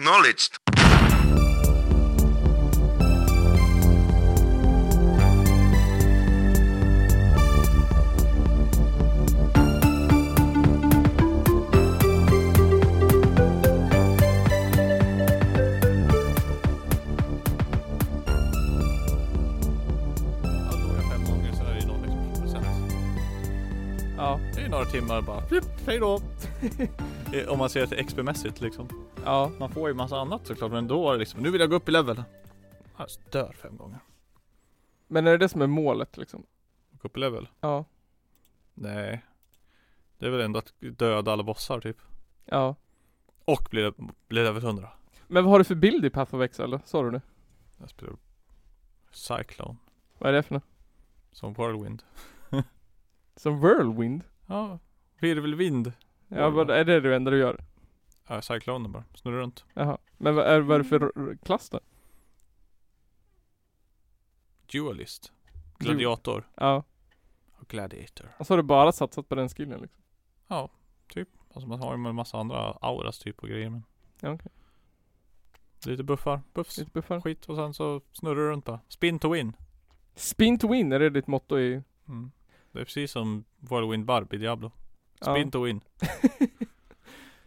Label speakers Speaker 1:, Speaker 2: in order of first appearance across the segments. Speaker 1: acknowledged.
Speaker 2: Ja, då är Alltså, jag fem gånger så är det ju noll procent.
Speaker 3: Ja,
Speaker 2: Det är ju några timmar bara, plupp, hej då. Eh, Om man ser det XP-mässigt liksom.
Speaker 3: ja,
Speaker 2: Man får ju massa annat såklart, men då är det liksom, nu vill jag gå upp i level. Jag dör fem gånger.
Speaker 3: men är det det som är målet liksom?
Speaker 2: Gå upp i level?
Speaker 3: Ja,
Speaker 2: Nej. Det är väl ändå att döda alla bossar typ.
Speaker 3: ja.
Speaker 2: Och bli, bli level 100.
Speaker 3: Men vad har du för bild i Path of Exile då? Sa du det?
Speaker 2: Jag spelar Cyclone,
Speaker 3: Vad är det för något?
Speaker 2: som Whirlwind.
Speaker 3: Som Whirlwind?
Speaker 2: Ja, virvelvind.
Speaker 3: Ja, vad, är det det enda du gör?
Speaker 2: Ja, Cyclonen bara, snurrar runt.
Speaker 3: Jaha. Men vad är, vad är det för r- r- klass då?
Speaker 2: Dualist. Gladiator.
Speaker 3: Ja.
Speaker 2: Och gladiator.
Speaker 3: Och så har du bara satsat på den skillen liksom?
Speaker 2: Alltså man har ju en massa andra auras typ och grejer men
Speaker 3: Ja, okej.
Speaker 2: Lite buffar, buffs,
Speaker 3: Lite buffar.
Speaker 2: skit och sen så snurrar du runt bara. Spin to win.
Speaker 3: Spin to win, är det ditt motto i...
Speaker 2: Mm. Det är precis som Whirlwind Barb i Diablo.
Speaker 3: Ja.
Speaker 2: Spin to win.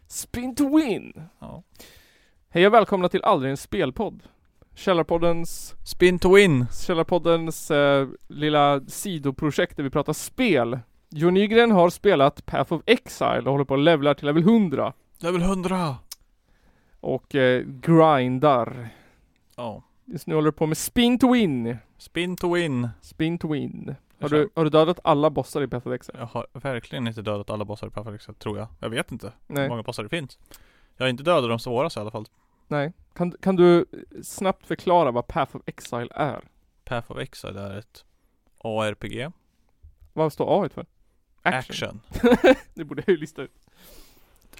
Speaker 3: Spin to win!
Speaker 2: Ja.
Speaker 3: Hej och välkomna till Aldrig en spelpodd. Källarpoddens,
Speaker 2: Spin to win!
Speaker 3: Källarpoddens eh, lilla sidoprojekt där vi pratar spel. Jon Nygren har spelat Path of Exile och håller på att levla till level 100.
Speaker 2: Level 100!
Speaker 3: Och eh, grindar.
Speaker 2: Ja.
Speaker 3: Just nu håller du på med Spin to win.
Speaker 2: Spin to win.
Speaker 3: Spin to win. Har
Speaker 2: Jag
Speaker 3: du, har du dödat alla bossar i Path of Exile?
Speaker 2: Jag har verkligen inte dödat alla bossar i Perfect tror jag. Jag vet inte hur
Speaker 3: Nej.
Speaker 2: många bossar det finns. Jag har inte dödat de svåraste i alla fall.
Speaker 3: Nej. Kan, kan du eh, snabbt förklara vad Path of Exile är?
Speaker 2: Path of Exile är ett ARPG.
Speaker 3: Vad står A för?
Speaker 2: Action.
Speaker 3: Det borde jag ju lista ut.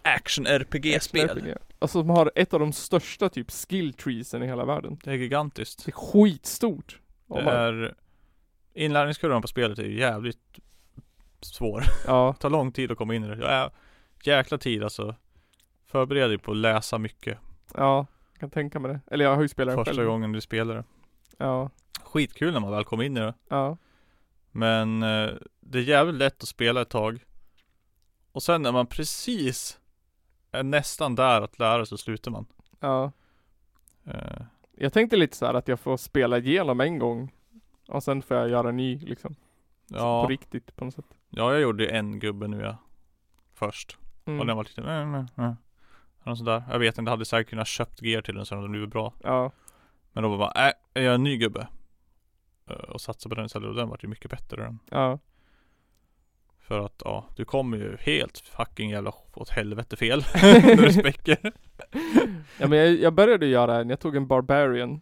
Speaker 2: Action RPG-spel.
Speaker 3: RPG. Alltså som har ett av de största typ skill treesen i hela världen.
Speaker 2: Det är gigantiskt.
Speaker 3: Det är skitstort.
Speaker 2: Det
Speaker 3: Om man-
Speaker 2: är Inlärningskurvan på spelet är ju jävligt svår.
Speaker 3: Ja,
Speaker 2: Det tar lång tid att komma in i det. Jag är jäkla tid alltså. Förbered dig på att läsa mycket
Speaker 3: ja. Jag kan tänka mig det. Eller jag har ju spelat det
Speaker 2: första
Speaker 3: själv.
Speaker 2: gången du spelar det.
Speaker 3: Ja,
Speaker 2: Skitkul när man väl kommer in i det.
Speaker 3: ja,
Speaker 2: Men eh, det är jävligt lätt att spela ett tag. Och sen när man precis är nästan där att lära så slutar man.
Speaker 3: ja.
Speaker 2: Eh,
Speaker 3: Jag tänkte lite så här att jag får spela igenom en gång. Och sen får jag göra en ny liksom. På
Speaker 2: ja,
Speaker 3: riktigt på något sätt.
Speaker 2: ja, jag gjorde ju en gubbe nu jag först.
Speaker 3: Mm.
Speaker 2: Och den var lite, nej, nej, nej. Eller något sånt där. Jag vet inte, hade säkert kunnat köpt gear till den så hade den blivit bra.
Speaker 3: Ja,
Speaker 2: Men då var bara, äh, jag är en ny gubbe. Eh, Och satsade på den istället och den vart ju mycket bättre än.
Speaker 3: ja,
Speaker 2: För att ja, du kommer ju helt fucking jävla åt helvete fel. när du späcker.
Speaker 3: ja. men jag, jag började ju göra en. Jag tog en Barbarian,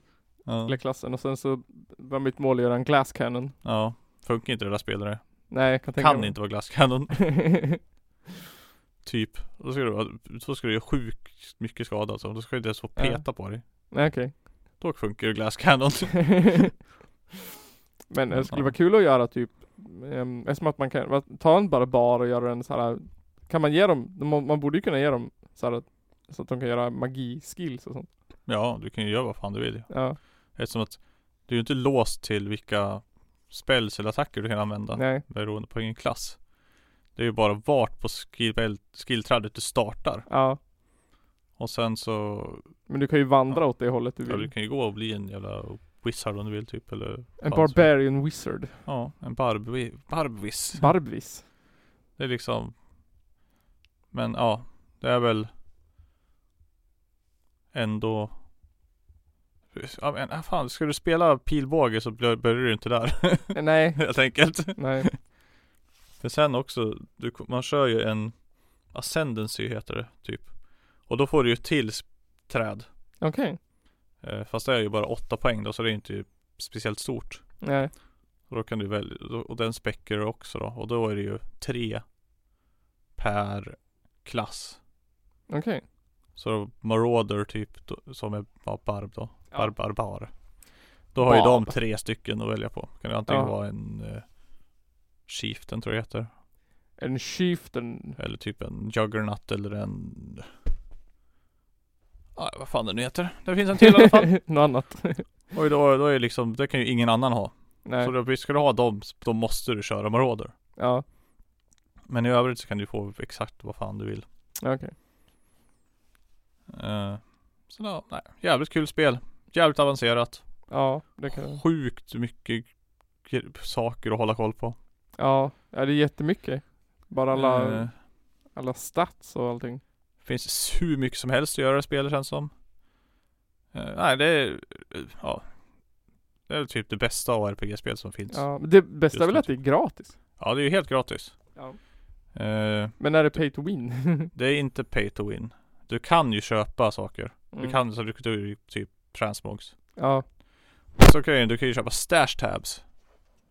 Speaker 2: Ja.
Speaker 3: eller klassen. Och sen så var mitt mål att göra en Glass Cannon.
Speaker 2: ja. Funkar inte det där spelare.
Speaker 3: Nej, jag kan tänka
Speaker 2: Kan
Speaker 3: mig.
Speaker 2: inte vara glasskannon.
Speaker 3: inte.
Speaker 2: Typ. Då ska du, vara- då ska du göra sjukt mycket skada alltså. Då ska du inte ens få
Speaker 3: Ja.
Speaker 2: peta på dig.
Speaker 3: Nej, okej.
Speaker 2: Då funkar ju glasskannon.
Speaker 3: Men det skulle
Speaker 2: Ja.
Speaker 3: vara kul att göra typ um, Eftersom att man kan va- ta en barbar och göra en så här Kan man ge dem, de må- man borde ju kunna ge dem så här att, Så att de kan göra magi-skills och sånt
Speaker 2: ja, du kan ju göra vad fan du vill.
Speaker 3: Ja,
Speaker 2: Eftersom att du är ju inte låst till vilka spells eller attacker du kan använda.
Speaker 3: nej,
Speaker 2: Beroende på ingen klass. Det är ju bara vart på skill- skillträdet du startar.
Speaker 3: ja
Speaker 2: Och sen så,
Speaker 3: Men du kan ju vandra åt det hållet du
Speaker 2: ja, du
Speaker 3: vill
Speaker 2: kan ju gå och bli en jävla wizard om du vill typ eller
Speaker 3: En
Speaker 2: fan, så-
Speaker 3: barbarian wizard
Speaker 2: Ja, en barbi, barbvis.
Speaker 3: Barbvis
Speaker 2: Det är liksom Men ja, det är väl Ändå Ja men ah, fan, ska du spela pilbåge så bör- börjar du inte där
Speaker 3: Eh, Nej,
Speaker 2: helt enkelt.
Speaker 3: nej,
Speaker 2: För sen också, du, man kör ju en Ascendancy heter det typ. Och då får du ju till sp- träd.
Speaker 3: okej,
Speaker 2: Eh, Fast det är ju bara 8 poäng då så det är inte speciellt stort.
Speaker 3: nej,
Speaker 2: Och då kan du välja, och den späcker du också då. Och då är det ju 3 per klass.
Speaker 3: okej
Speaker 2: Så då Marauder typ, då- som är ja, Barb då.
Speaker 3: Ja.
Speaker 2: Barb, barbar. Då har ju de
Speaker 3: Barb.
Speaker 2: tre stycken att välja på. Kan det antingen
Speaker 3: Ja.
Speaker 2: vara en eh, Chieftain tror jag det heter.
Speaker 3: En chieftain
Speaker 2: Eller typ en juggernaut eller en Ja, vad fan den heter. Det finns en till i alla fall.
Speaker 3: Något annat.
Speaker 2: Och då, då är liksom, det kan ju ingen annan ha.
Speaker 3: Nej.
Speaker 2: Så då, ska du ha dem, då måste du köra Marauder.
Speaker 3: Ja,
Speaker 2: Men i övrigt så kan du få exakt vad fan du vill.
Speaker 3: okej.
Speaker 2: Eh, så då, nej, jävligt kul spel. Jävligt avancerat.
Speaker 3: Ja, det kan jag.
Speaker 2: Sjukt mycket gre- saker att hålla koll på.
Speaker 3: Ja, ja det är jättemycket. Bara alla,
Speaker 2: Eh,
Speaker 3: alla stats och allting.
Speaker 2: finns hur mycket som helst att göra i spelet känns som. Eh, nej, det är, eh, ja. Det är typ det bästa ARPG-spel som finns. Ja.
Speaker 3: Ja, men det bästa är
Speaker 2: Just
Speaker 3: väl
Speaker 2: det.
Speaker 3: att det är gratis.
Speaker 2: det är ju helt gratis. Eh,
Speaker 3: Men är det pay to win?
Speaker 2: det är inte pay to win. Du kan ju köpa saker. Du
Speaker 3: Mm.
Speaker 2: kan, så du, du typ transmogs.
Speaker 3: Ja,
Speaker 2: Så kan ju, du kan ju köpa stash tabs.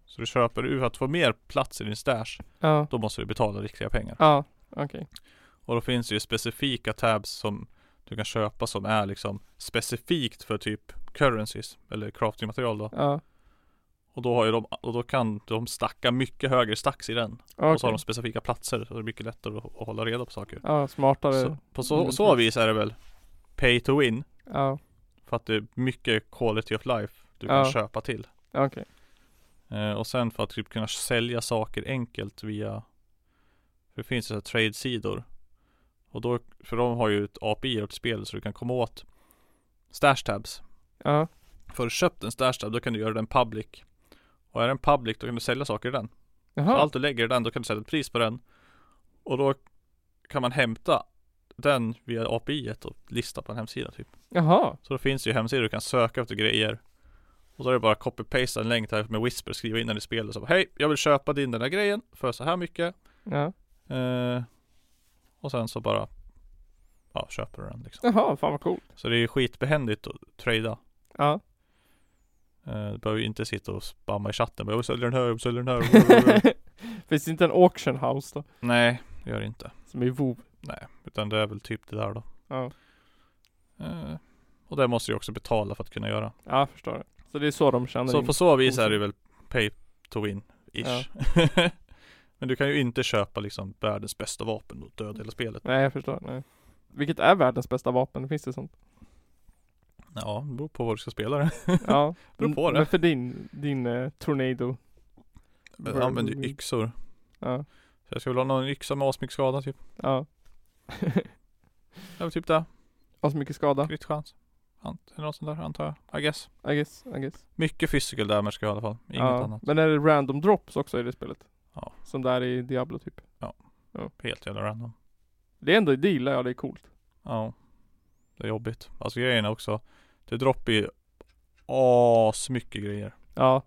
Speaker 2: Så du köper ut för att få mer plats i din stash.
Speaker 3: ja,
Speaker 2: Då måste du betala riktiga pengar.
Speaker 3: ja, okej.
Speaker 2: Och då finns det ju specifika tabs som du kan köpa som är liksom specifikt för typ currencies eller craftingmaterial då.
Speaker 3: Ja,
Speaker 2: Och då har ju de, och då kan de stacka mycket högre stacks i den. Och så har
Speaker 3: okej.
Speaker 2: de specifika platser så det är mycket lättare att, att hålla reda på saker.
Speaker 3: Ja, Mm, smartare.
Speaker 2: Så, på så, så vis är det väl pay to win.
Speaker 3: Ja,
Speaker 2: För att det är mycket quality of life du kan
Speaker 3: Ja.
Speaker 2: köpa till.
Speaker 3: okej.
Speaker 2: Eh, och sen för att typ kunna sälja saker enkelt via för Det finns ju så här trade-sidor Och då, för de har ju ett API och ett spel så du kan komma åt Stash tabs
Speaker 3: Ja,
Speaker 2: För du köpt en stash tab då kan du göra den public Och är den public då kan du sälja saker i den Så
Speaker 3: jaha.
Speaker 2: allt du lägger i den då kan du sätta ett pris på den Och då kan man hämta den via API et och lista på en hemsida typ
Speaker 3: Jaha.
Speaker 2: Så då finns det ju hemsidor du kan söka efter grejer Och så är det bara copy-paste en länk där med Whisper, skriva in den i spelet så bara, Hej, jag vill köpa din den här grejen för så här mycket
Speaker 3: Ja.
Speaker 2: eh, Och sen så bara Ja, köper du den liksom
Speaker 3: Jaha, fan vad coolt.
Speaker 2: Så det är ju skitbehändigt att trada
Speaker 3: Ja.
Speaker 2: eh, Du behöver ju inte sitta och spamma i chatten bara, Jag vill sälja den här, jag vill sälja den här
Speaker 3: Finns det inte en auction house då?
Speaker 2: Nej, det gör det inte
Speaker 3: Som är WoW?
Speaker 2: Nej, utan det är väl typ det där då
Speaker 3: Ja.
Speaker 2: eh, Och det måste du ju också betala för att kunna göra
Speaker 3: Ja, jag förstår det. Så det är så de känner
Speaker 2: Så
Speaker 3: in.
Speaker 2: på så vis är det väl pay to win ish. Men du kan ju inte köpa liksom världens bästa vapen och döda hela spelet.
Speaker 3: Nej, jag förstår. Nej. Vilket är världens bästa vapen? Finns det sånt?
Speaker 2: Ja, det beror på vad du ska spela det.
Speaker 3: Ja.
Speaker 2: Beror på
Speaker 3: Mm,
Speaker 2: det.
Speaker 3: Men för din, din eh, Tornado.
Speaker 2: Jag använder ju
Speaker 3: Vermin.
Speaker 2: yxor.
Speaker 3: Ja.
Speaker 2: Så jag skulle vilja ha någon yxa med asmycket skada typ.
Speaker 3: Ja.
Speaker 2: Eller typ det.
Speaker 3: Har så mycket skada.
Speaker 2: Kritchans. Ant- eller Något sånt där antar jag. I guess.
Speaker 3: I guess, I guess.
Speaker 2: Mycket physical damage ska jag ha i alla fall. Inget
Speaker 3: ja.
Speaker 2: annat.
Speaker 3: Men är det random drops också i det spelet?
Speaker 2: Ja.
Speaker 3: Som där i Diablo typ.
Speaker 2: Helt jävla random.
Speaker 3: Det är ändå, det gillar jag, det är coolt.
Speaker 2: Ja. Det är jobbigt. Alltså grejen är också. Det droppar ju asmycket grejer.
Speaker 3: Ja.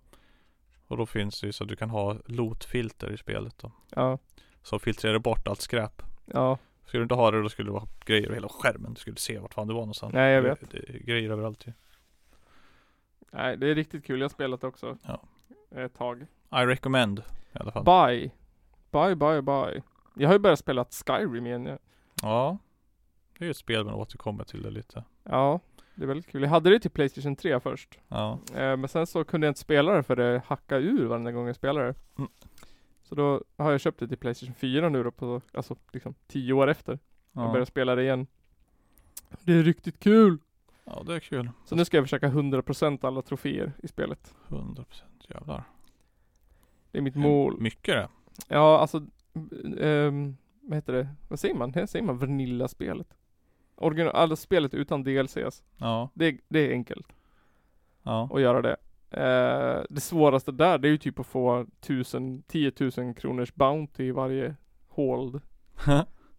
Speaker 2: Och då finns det ju så att du kan ha lootfilter i spelet då.
Speaker 3: Ja.
Speaker 2: Som filtrerar bort allt skräp.
Speaker 3: Ja.
Speaker 2: Skulle du inte ha det då skulle det vara grejer över hela skärmen. Du skulle se vart fan du var någonstans.
Speaker 3: Nej, jag
Speaker 2: Det-
Speaker 3: vet.
Speaker 2: Det, är grejer överallt ju.
Speaker 3: Nej, det är riktigt kul. Jag har spelat det också.
Speaker 2: Ja.
Speaker 3: Ett tag.
Speaker 2: I recommend i alla fall.
Speaker 3: Bye. Bye, bye, bye. Jag har ju börjat spela Skyrim igen. Ja.
Speaker 2: ja. Det är ju ett spel men återkommer till det lite.
Speaker 3: ja. Det är väldigt kul. Jag hade det till Playstation 3 först.
Speaker 2: Ja.
Speaker 3: Eh, men sen så kunde jag inte spela det för det hackade ur varenda gång jag spelade det.
Speaker 2: Mm.
Speaker 3: Så då har jag köpt det till Playstation 4 nu då på, alltså liksom 10 år efter. Jag
Speaker 2: Ja.
Speaker 3: började spela det igen. Det är riktigt kul!
Speaker 2: ja det är kul.
Speaker 3: Så nu ska jag försöka 100% alla troféer i spelet.
Speaker 2: 100% jävlar.
Speaker 3: Det är mitt mål.
Speaker 2: Mycket det.
Speaker 3: Ja, alltså, ehm, vad heter det? Vad säger man? Här säger man Vanilla-spelet? Original, alla spelet utan DLCs.
Speaker 2: Ja.
Speaker 3: alltså. Det, är- det är enkelt.
Speaker 2: Ja.
Speaker 3: och göra det. Eh, det svåraste där det är ju typ att få 1000, 10 000 kronors bounty i varje hold.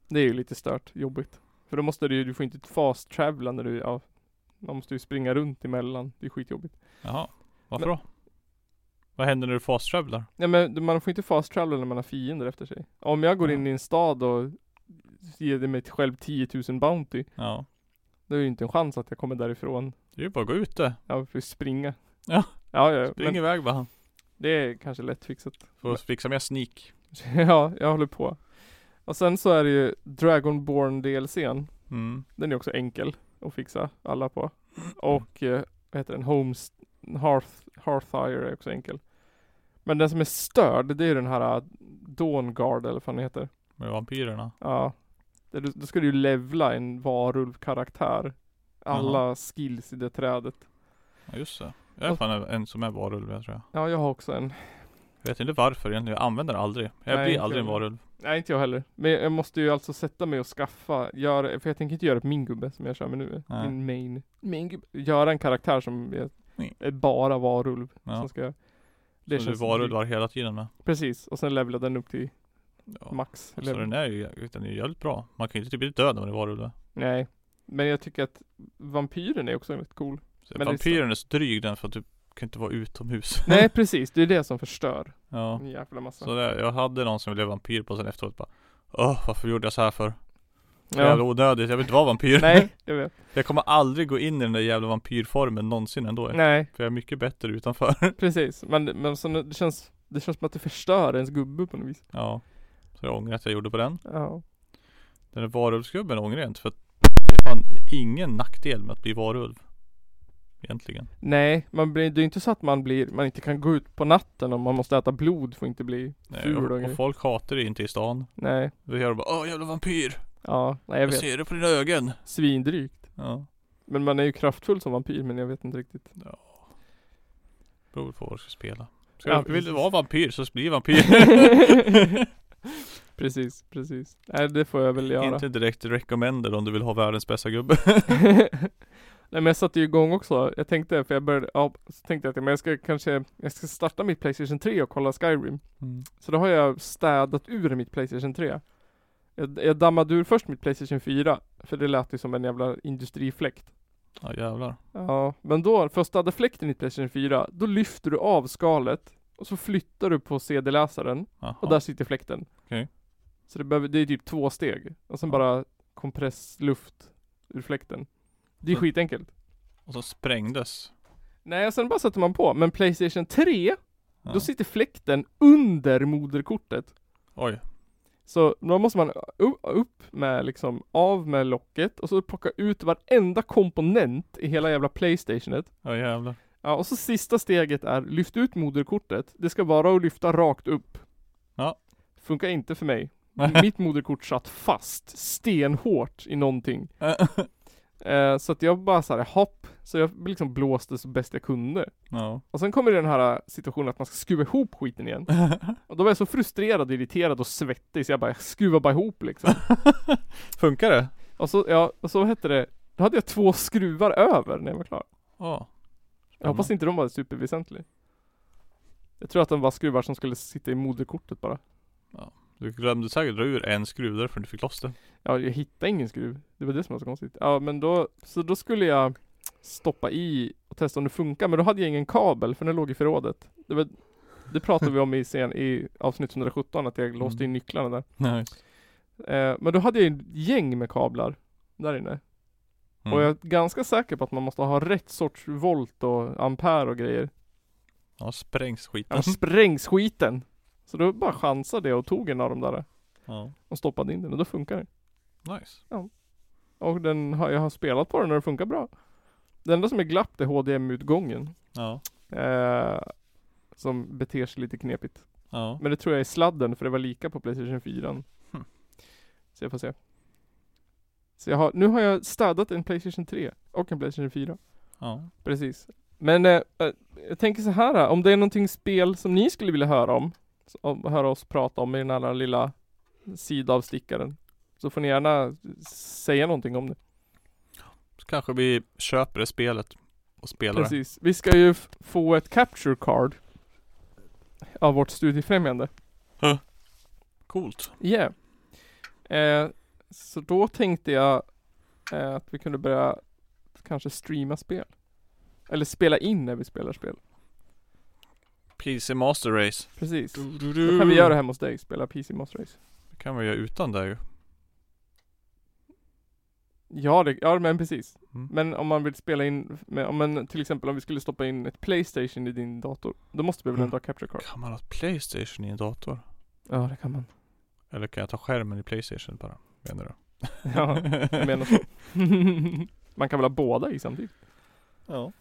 Speaker 3: Det är ju lite stört, jobbigt. För då måste du ju, du får inte fast travela när du, ja, man måste ju springa runt emellan. Det är skitjobbigt.
Speaker 2: Jaha. Varför då? Vad händer när du fast travelar?
Speaker 3: Nej men man får inte fast travela när man har fiender efter sig. Om jag går in i en stad och ger det mig själv 10 000 bounty,
Speaker 2: Ja.
Speaker 3: då är det ju inte en chans att jag kommer därifrån.
Speaker 2: Det är ju bara att gå ute.
Speaker 3: Jag får ju springa.
Speaker 2: Ja.
Speaker 3: Ja, ja,
Speaker 2: Spring
Speaker 3: men
Speaker 2: iväg bara.
Speaker 3: det är kanske lättfixat.
Speaker 2: För att fixa mer sneak.
Speaker 3: Ja, jag håller på. Och sen så är det ju Dragonborn DLCn.
Speaker 2: Mm.
Speaker 3: Den är också enkel att fixa alla på. Och eh, vad heter den? Homes Hearth, Hearthire är också enkel. Men den som är störd, det är den här eh, Dawnguard eller vad fan den heter.
Speaker 2: Med vampyrerna.
Speaker 3: Ja. Där du- Då ska du ju levla en varulvkaraktär Alla skills i det trädet.
Speaker 2: Ja, just det. Jag är
Speaker 3: Och-
Speaker 2: fan en som är varulv jag tror jag.
Speaker 3: Ja, jag har också en.
Speaker 2: Jag vet inte varför egentligen. Jag använder den aldrig. Jag
Speaker 3: Nej,
Speaker 2: blir
Speaker 3: inte
Speaker 2: aldrig en
Speaker 3: jag.
Speaker 2: varulv.
Speaker 3: Nej, inte jag heller. Men jag måste ju alltså sätta mig och skaffa, göra, för jag tänker inte göra på min gubbe som jag kör med nu.
Speaker 2: Nej.
Speaker 3: Min main. Min gubbe. Göra en karaktär som är,
Speaker 2: Nej.
Speaker 3: är bara varulv.
Speaker 2: Ja.
Speaker 3: Som ska,
Speaker 2: Det så du
Speaker 3: känns
Speaker 2: varulvar hela tiden med.
Speaker 3: Precis, och sen levla den upp till
Speaker 2: Ja.
Speaker 3: max.
Speaker 2: Så
Speaker 3: level.
Speaker 2: Alltså, den är ju den är ju jävligt bra. Man kan ju inte typ bli död om det är varulv. va?
Speaker 3: Nej. Men jag tycker att vampyren är också väldigt cool.
Speaker 2: Så
Speaker 3: Men det är
Speaker 2: Vampyren är så dryg den för att du kan inte vara utomhus.
Speaker 3: Nej precis, det är det som förstör
Speaker 2: ja.
Speaker 3: en jävla massa.
Speaker 2: Så det, jag hade någon som blev vampyr på sen efteråt bara Åh, varför gjorde jag så här för? Ja. Jävla
Speaker 3: ja.
Speaker 2: onödigt, jag vill inte vara vampyr.
Speaker 3: Nej, jag vet.
Speaker 2: Jag kommer aldrig gå in i den där jävla vampyrformen någonsin ändå.
Speaker 3: Nej,
Speaker 2: För jag är mycket bättre utanför.
Speaker 3: precis. Men, men så nu- det, känns, det känns som att det förstör ens gubbe på något vis.
Speaker 2: ja. Så jag ångrar att jag gjorde på den.
Speaker 3: Ja.
Speaker 2: Den där varulvsgubben ångrar jag inte för att det är fan ingen nackdel med att bli varulv. Egentligen.
Speaker 3: Nej, man blir, det är inte så att man blir, man inte kan gå ut på natten om man måste äta blod för att inte bli
Speaker 2: Nej,
Speaker 3: ful
Speaker 2: och,
Speaker 3: och
Speaker 2: och
Speaker 3: grejer.
Speaker 2: folk hatar det inte i stan.
Speaker 3: Nej,
Speaker 2: Då gör de bara Åh jävla vampyr!
Speaker 3: ja, nej jag
Speaker 2: Jag
Speaker 3: vet.
Speaker 2: ser det på dina ögon!
Speaker 3: Svindrygt.
Speaker 2: Ja.
Speaker 3: Men man är ju kraftfull som vampyr men jag vet inte riktigt.
Speaker 2: Beror på vad du ska spela. Ska
Speaker 3: Ja,
Speaker 2: du, vill du
Speaker 3: precis.
Speaker 2: vara vampyr så bli vampyr.
Speaker 3: precis, precis. Nej det får jag väl göra.
Speaker 2: inte direkt recommended om du vill ha världens bästa gubbe.
Speaker 3: Nej men jag satte ju igång också. Jag tänkte, för jag började, ja, så tänkte jag att men jag ska kanske, jag ska starta mitt Playstation 3 och kolla Skyrim. Så då har jag städat ur mitt Playstation 3. Jag, jag dammade ur först mitt Playstation 4, för det lät ju som en jävla industrifläkt.
Speaker 2: Ja jävlar.
Speaker 3: Ja, men då, för att städa fläkten i Playstation 4, då lyfter du av skalet och så flyttar du på CD-läsaren
Speaker 2: Jaha.
Speaker 3: och där sitter fläkten.
Speaker 2: Okej.
Speaker 3: Så det, behöver, det är typ två steg och sen
Speaker 2: Ja.
Speaker 3: bara kompressluft ur fläkten. Det är
Speaker 2: Så-
Speaker 3: skitenkelt.
Speaker 2: Och så sprängdes.
Speaker 3: Nej, och sen bara sätter man på. Men Playstation 3,
Speaker 2: Ja.
Speaker 3: då sitter fläkten under moderkortet.
Speaker 2: Oj.
Speaker 3: Så då måste man u- upp med liksom, av med locket och så plocka ut varenda komponent i hela jävla Playstationet.
Speaker 2: Ja jävlar.
Speaker 3: Ja, och så sista steget är lyft ut moderkortet. Det ska vara att lyfta rakt upp.
Speaker 2: Ja.
Speaker 3: Funkar inte för mig. Mitt moderkort satt fast stenhårt i någonting. Eh, så att jag bara såhär, hopp. Så jag liksom blåste så bäst jag kunde.
Speaker 2: ja.
Speaker 3: Och sen kommer den här situationen att man ska skruva ihop skiten igen. Och då var jag så frustrerad, irriterad och svettig så jag bara, jag skruvar bara ihop liksom.
Speaker 2: Funkar det?
Speaker 3: Och så, ja, och så hette det, då hade jag två skruvar över när jag var klar.
Speaker 2: Ja.
Speaker 3: Jag hoppas inte de var superväsentlig. Jag tror att de var skruvar som skulle sitta i moderkortet bara.
Speaker 2: Du glömde säkert dra ur en skruv därför du fick loss den.
Speaker 3: Ja, jag hittade ingen skruv. Det var det som var så konstigt. Ja, men då, så då skulle jag stoppa i och testa om det funkar, men då hade jag ingen kabel för den låg i förrådet. Det, var, det pratade vi om i, sen, i avsnitt 117, att jag låste in nycklarna där.
Speaker 2: Nej.
Speaker 3: Eh, men då hade jag ett gäng med kablar där inne.
Speaker 2: Mm.
Speaker 3: Och jag är ganska säker på att man måste ha rätt sorts volt och ampere och grejer.
Speaker 2: Ja sprängs skiten.
Speaker 3: Ja, sprängs skiten! Så då bara chansade jag och tog en av de där
Speaker 2: Ja.
Speaker 3: och stoppade in den och då funkar det.
Speaker 2: Nice.
Speaker 3: Och den har, jag har spelat på den och den funkar bra. Det enda som är glapp är HDMI-utgången.
Speaker 2: Ja.
Speaker 3: Eh, som beter sig lite knepigt.
Speaker 2: Ja.
Speaker 3: Men det tror jag är sladden för det var lika på Playstation 4.
Speaker 2: Hmm.
Speaker 3: Så jag får se. Så jag har, nu har jag städat en Playstation 3 och en Playstation 4.
Speaker 2: Ja.
Speaker 3: Precis. Men eh, eh, jag tänker så här, om det är någonting spel som ni skulle vilja höra om, s- om höra oss prata om i den här lilla sidavstickaren, så får ni gärna säga någonting om det.
Speaker 2: Så kanske vi köper det spelet och spelar det.
Speaker 3: Precis. Vi ska ju f- få ett capture card av vårt studiefrämjande.
Speaker 2: Coolt.
Speaker 3: Yeah. Eh, så då tänkte jag eh, att vi kunde börja kanske streama spel. Eller spela in när vi spelar spel.
Speaker 2: PC Master Race.
Speaker 3: Precis.
Speaker 2: Du,
Speaker 3: Då kan vi göra det hemma hos dig, spela PC Master Race.
Speaker 2: Det kan vi göra utan Mm. det ju.
Speaker 3: Ja, det, ja men precis.
Speaker 2: Mm.
Speaker 3: Men om man vill spela in, med, om man, till exempel om vi skulle stoppa in ett Playstation i din dator, då måste vi väl
Speaker 2: Mm.
Speaker 3: ändå ha Capture Card?
Speaker 2: Kan man ha ett Playstation i en dator?
Speaker 3: Ja, det kan man.
Speaker 2: Eller kan jag ta skärmen i Playstation bara? Menar du?
Speaker 3: Ja, jag menar så. man kan väl ha båda i samtidigt?
Speaker 2: Ja.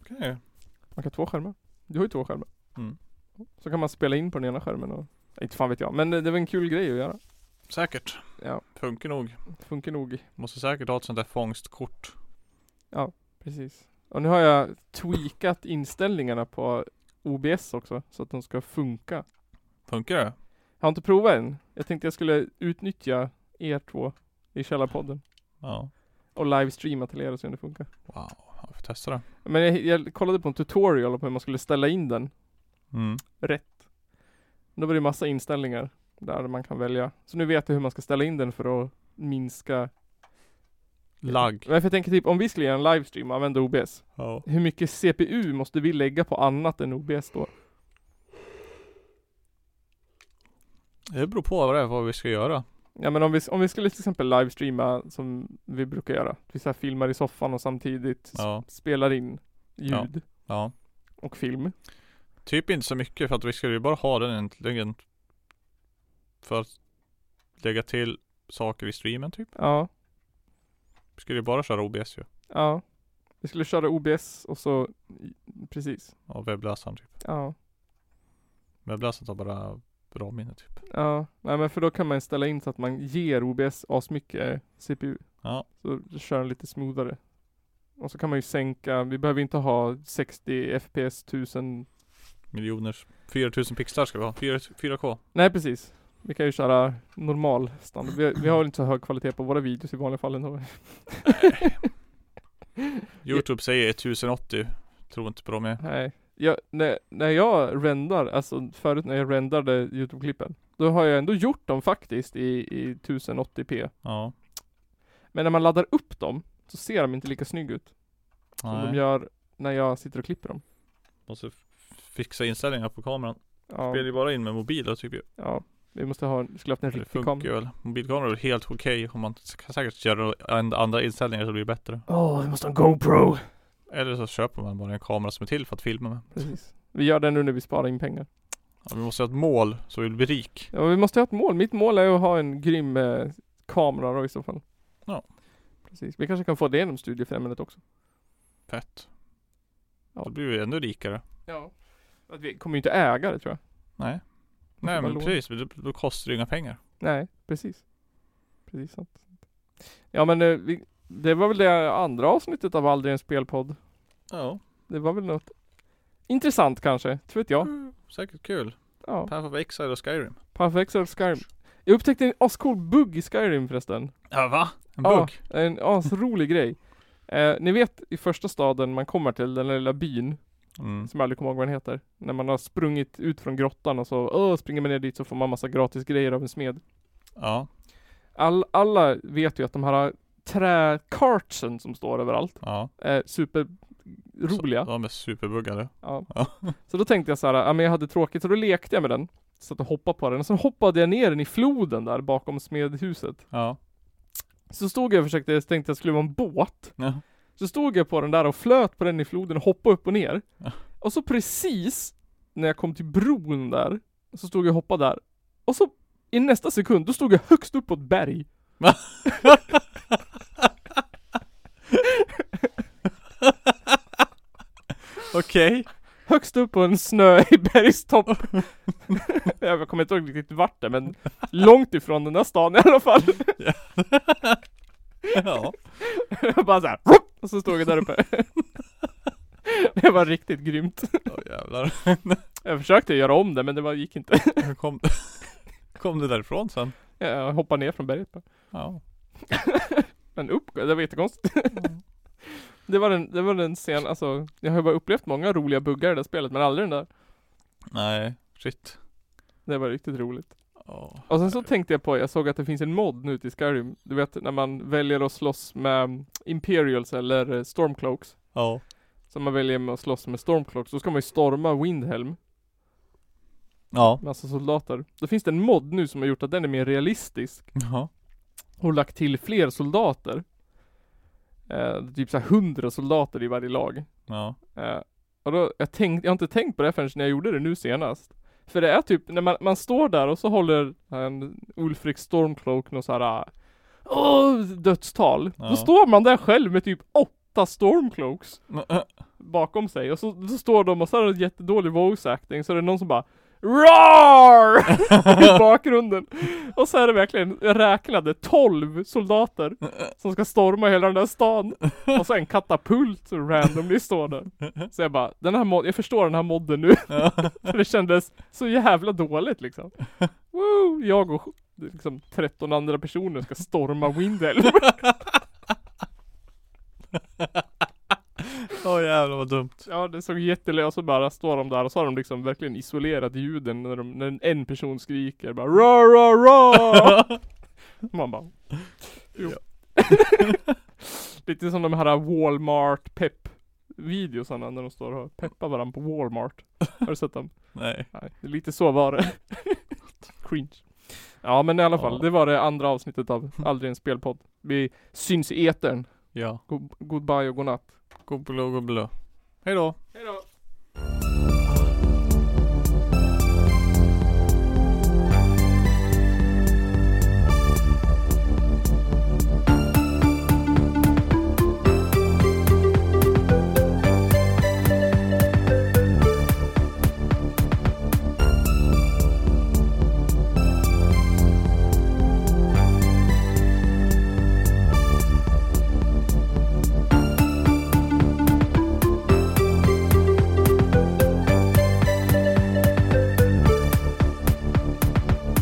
Speaker 2: Okej.
Speaker 3: Man kan ha två skärmar. Du har ju två skärmar.
Speaker 2: Mm.
Speaker 3: Så kan man spela in på den ena skärmen och, Nej, inte fan vet jag, men det, det var en kul grej att göra.
Speaker 2: Säkert.
Speaker 3: Ja.
Speaker 2: Funkar nog.
Speaker 3: Det funkar nog.
Speaker 2: Måste säkert ha ett sånt där fångstkort.
Speaker 3: Precis. Och nu har jag tweakat inställningarna på OBS också så att de ska funka.
Speaker 2: Funkar det?
Speaker 3: Jag har inte provat än. Jag tänkte jag skulle utnyttja er två i Källarpodden
Speaker 2: Ja.
Speaker 3: och livestreama till er och se om det funkar.
Speaker 2: Wow, jag får testa det.
Speaker 3: Men jag, jag kollade på en tutorial på hur man skulle ställa in den
Speaker 2: Mm.
Speaker 3: rätt. Då var det massa inställningar där man kan välja. Så nu vet jag hur man ska ställa in den för att minska
Speaker 2: Lagg.
Speaker 3: Men för jag tänker typ om vi skulle göra en livestream och använda OBS
Speaker 2: Ja.
Speaker 3: Hur mycket CPU måste vi lägga på annat än OBS då?
Speaker 2: Det beror på vad det är, vad vi ska göra.
Speaker 3: Ja men om vi, om vi skulle till exempel livestreama som vi brukar göra Vi så här filmar i soffan och samtidigt s-
Speaker 2: Ja.
Speaker 3: spelar in ljud
Speaker 2: Ja.
Speaker 3: och film
Speaker 2: Typ inte så mycket för att vi skulle ju bara ha den egentligen För att lägga till saker i streamen typ
Speaker 3: Ja,
Speaker 2: Vi skulle ju bara köra OBS ju
Speaker 3: ja Vi skulle köra OBS och så Precis
Speaker 2: Och webbläsaren typ
Speaker 3: Ja,
Speaker 2: Webbläsaren tar bara bra minne typ
Speaker 3: ja Nej men för då kan man ställa in så att man ger OBS asmycket CPU
Speaker 2: Ja,
Speaker 3: Så kör den lite smoothare. Och så kan man ju sänka, vi behöver inte ha 60 FPS 1000.
Speaker 2: miljoners 4000 pixlar ska vi ha, 4, 4K
Speaker 3: Nej precis. Vi kan ju köra normal standard. Vi, vi har väl inte så hög kvalitet på våra videos i vanliga fall ändå.
Speaker 2: Youtube säger 1080 Tror inte på dem jag
Speaker 3: Nej. Jag, när, när jag rendar, alltså förut när jag rendade Youtube-klippen. Då har jag ändå gjort dem faktiskt i, i 1080p.
Speaker 2: Ja
Speaker 3: Men när man laddar upp dem så ser de inte lika snygg ut. Som de
Speaker 2: Nej,
Speaker 3: gör när jag sitter och klipper dem.
Speaker 2: måste f- fixa inställningar på kameran
Speaker 3: Ja,
Speaker 2: Spelar ju bara in med mobilen tycker jag
Speaker 3: ja. Vi måste ha, skulle haft en
Speaker 2: Det
Speaker 3: riktig
Speaker 2: funkar
Speaker 3: kamera.
Speaker 2: ju väl Mobilkameror är helt okej och Man kan säkert göra and- andra inställningar så blir det bättre
Speaker 3: Åh, vi måste ha en GoPro.
Speaker 2: Eller så köper man bara en kamera som är till för att filma med
Speaker 3: Precis. Vi gör det nu när vi sparar in pengar.
Speaker 2: Ja, vi måste ha ett mål så vi blir rik.
Speaker 3: Ja, vi måste ha ett mål. Mitt mål är att ha en grym eh, kamera då i så fall.
Speaker 2: Ja.
Speaker 3: Precis. Vi kanske kan få det genom studiefrämjandet också.
Speaker 2: Fett.
Speaker 3: Ja.
Speaker 2: Då blir vi ännu rikare.
Speaker 3: Ja. Att vi kommer ju inte äga det tror jag.
Speaker 2: Nej.
Speaker 3: Vi får
Speaker 2: Nej
Speaker 3: bara
Speaker 2: men
Speaker 3: låna.
Speaker 2: precis, men då, då kostar det ju inga pengar.
Speaker 3: Nej, precis. Precis sant. Ja men eh, vi, det var väl det andra avsnittet av Aldrig en spelpodd.
Speaker 2: Ja.
Speaker 3: Det var väl något intressant kanske, tror inte jag.
Speaker 2: Mm, säkert kul.
Speaker 3: Ja.
Speaker 2: Path of Exile och Skyrim.
Speaker 3: Perfect Self Skyrim. Jag upptäckte en ascool bugg i Skyrim förresten.
Speaker 2: Ja va? En
Speaker 3: Ja,
Speaker 2: bugg?
Speaker 3: en asrolig grej. Eh, ni vet i första staden man kommer till, den där lilla byn,
Speaker 2: Mm.
Speaker 3: som jag aldrig kommer ihåg vad den heter. När man har sprungit ut från grottan och så öh, springer man ner dit så får man massa gratis grejer av en smed.
Speaker 2: Ja.
Speaker 3: All, alla vet ju att de här träkartsen som står överallt
Speaker 2: Ja.
Speaker 3: är superroliga.
Speaker 2: Så, de är superbuggade.
Speaker 3: Ja.
Speaker 2: Ja.
Speaker 3: Så då tänkte jag så här, ja men jag hade tråkigt så då lekte jag med den. Satt och hoppade på den och sen hoppade jag ner den i floden där bakom smedhuset.
Speaker 2: Ja.
Speaker 3: Så stod jag och försökte, jag tänkte jag skulle vara en båt.
Speaker 2: ja.
Speaker 3: Så stod jag på den där och flöt på den i floden och hoppade upp och ner.
Speaker 2: Ja.
Speaker 3: Och så precis när jag kom till bron där, så stod jag och hoppade där. Och så i nästa sekund, då stod jag högst upp på ett berg.
Speaker 2: Okej.
Speaker 3: Högst upp på en snö i bergstopp. jag kommer inte ihåg riktigt vart det men långt ifrån den där stan i alla fall.
Speaker 2: Ja.
Speaker 3: jag bara såhär, och så stod jag där uppe. det var riktigt grymt.
Speaker 2: Åh jävlar.
Speaker 3: Jag försökte göra om det men det bara gick inte.
Speaker 2: Hur kom, kom du därifrån sen?
Speaker 3: Jag hoppade ner från berget bara.
Speaker 2: Ja.
Speaker 3: En uppgång, det var jättekonstigt. det var den, det var den sen, alltså jag har ju bara upplevt många roliga buggar i det här spelet men aldrig den där.
Speaker 2: Nej. Shit.
Speaker 3: Det var riktigt roligt.
Speaker 2: Ja.
Speaker 3: Och sen så tänkte jag på, jag såg att det finns en mod nu till Skyrim. Du vet när man väljer att slåss med mm, Imperials eller eh, Stormcloaks.
Speaker 2: Ja.
Speaker 3: Så man väljer med att slåss med Stormcloaks, då ska man ju storma Windhelm
Speaker 2: Ja.
Speaker 3: med massa soldater. Då finns det en mod nu som har gjort att den är mer realistisk.
Speaker 2: Ja.
Speaker 3: Och lagt till fler soldater. Eh, typ såhär 100 soldater i varje lag.
Speaker 2: Ja.
Speaker 3: Eh, och då, jag, tänkt, jag har inte tänkt på det förrän när jag gjorde det nu senast. För det är typ, när man, man står där och så håller en Ulfrik Stormcloak någon så här eh, Åh, dödstal. Då
Speaker 2: Ja.
Speaker 3: står man där själv med typ åtta Stormcloaks
Speaker 2: Ja.
Speaker 3: bakom sig och så, så står de och så har de jättedålig voice acting så är det någon som bara RAR! i bakgrunden. Och så är det verkligen räknade 12 soldater som ska storma hela den där stan. Och så en katapult som randomly står där. Så jag bara, den här mod- jag förstår den här modden nu. För det kändes så jävla dåligt liksom. Woo! Jag och sj- liksom 13 andra personer ska storma Windelm.
Speaker 2: Åh jävlar vad dumt.
Speaker 3: Ja det såg jättelöst och så bara står de där och så har de liksom verkligen isolerat ljuden när, de, när en person skriker bara ra ra ra Man bara jo. Lite som de här Walmart pepp videosarna när de står och peppar varandra på Walmart Har du sett dem?
Speaker 2: Nej.
Speaker 3: Nej, det är lite så var det Cringe Ja men i alla fall,
Speaker 2: Ja.
Speaker 3: det var det andra avsnittet av Aldrig en spelpodd Vi syns i etern
Speaker 2: Ja.
Speaker 3: God, Goodbye och godnatt
Speaker 2: Gobblå gobblå. Hej då.
Speaker 3: Hejdå
Speaker 2: Källarpodden.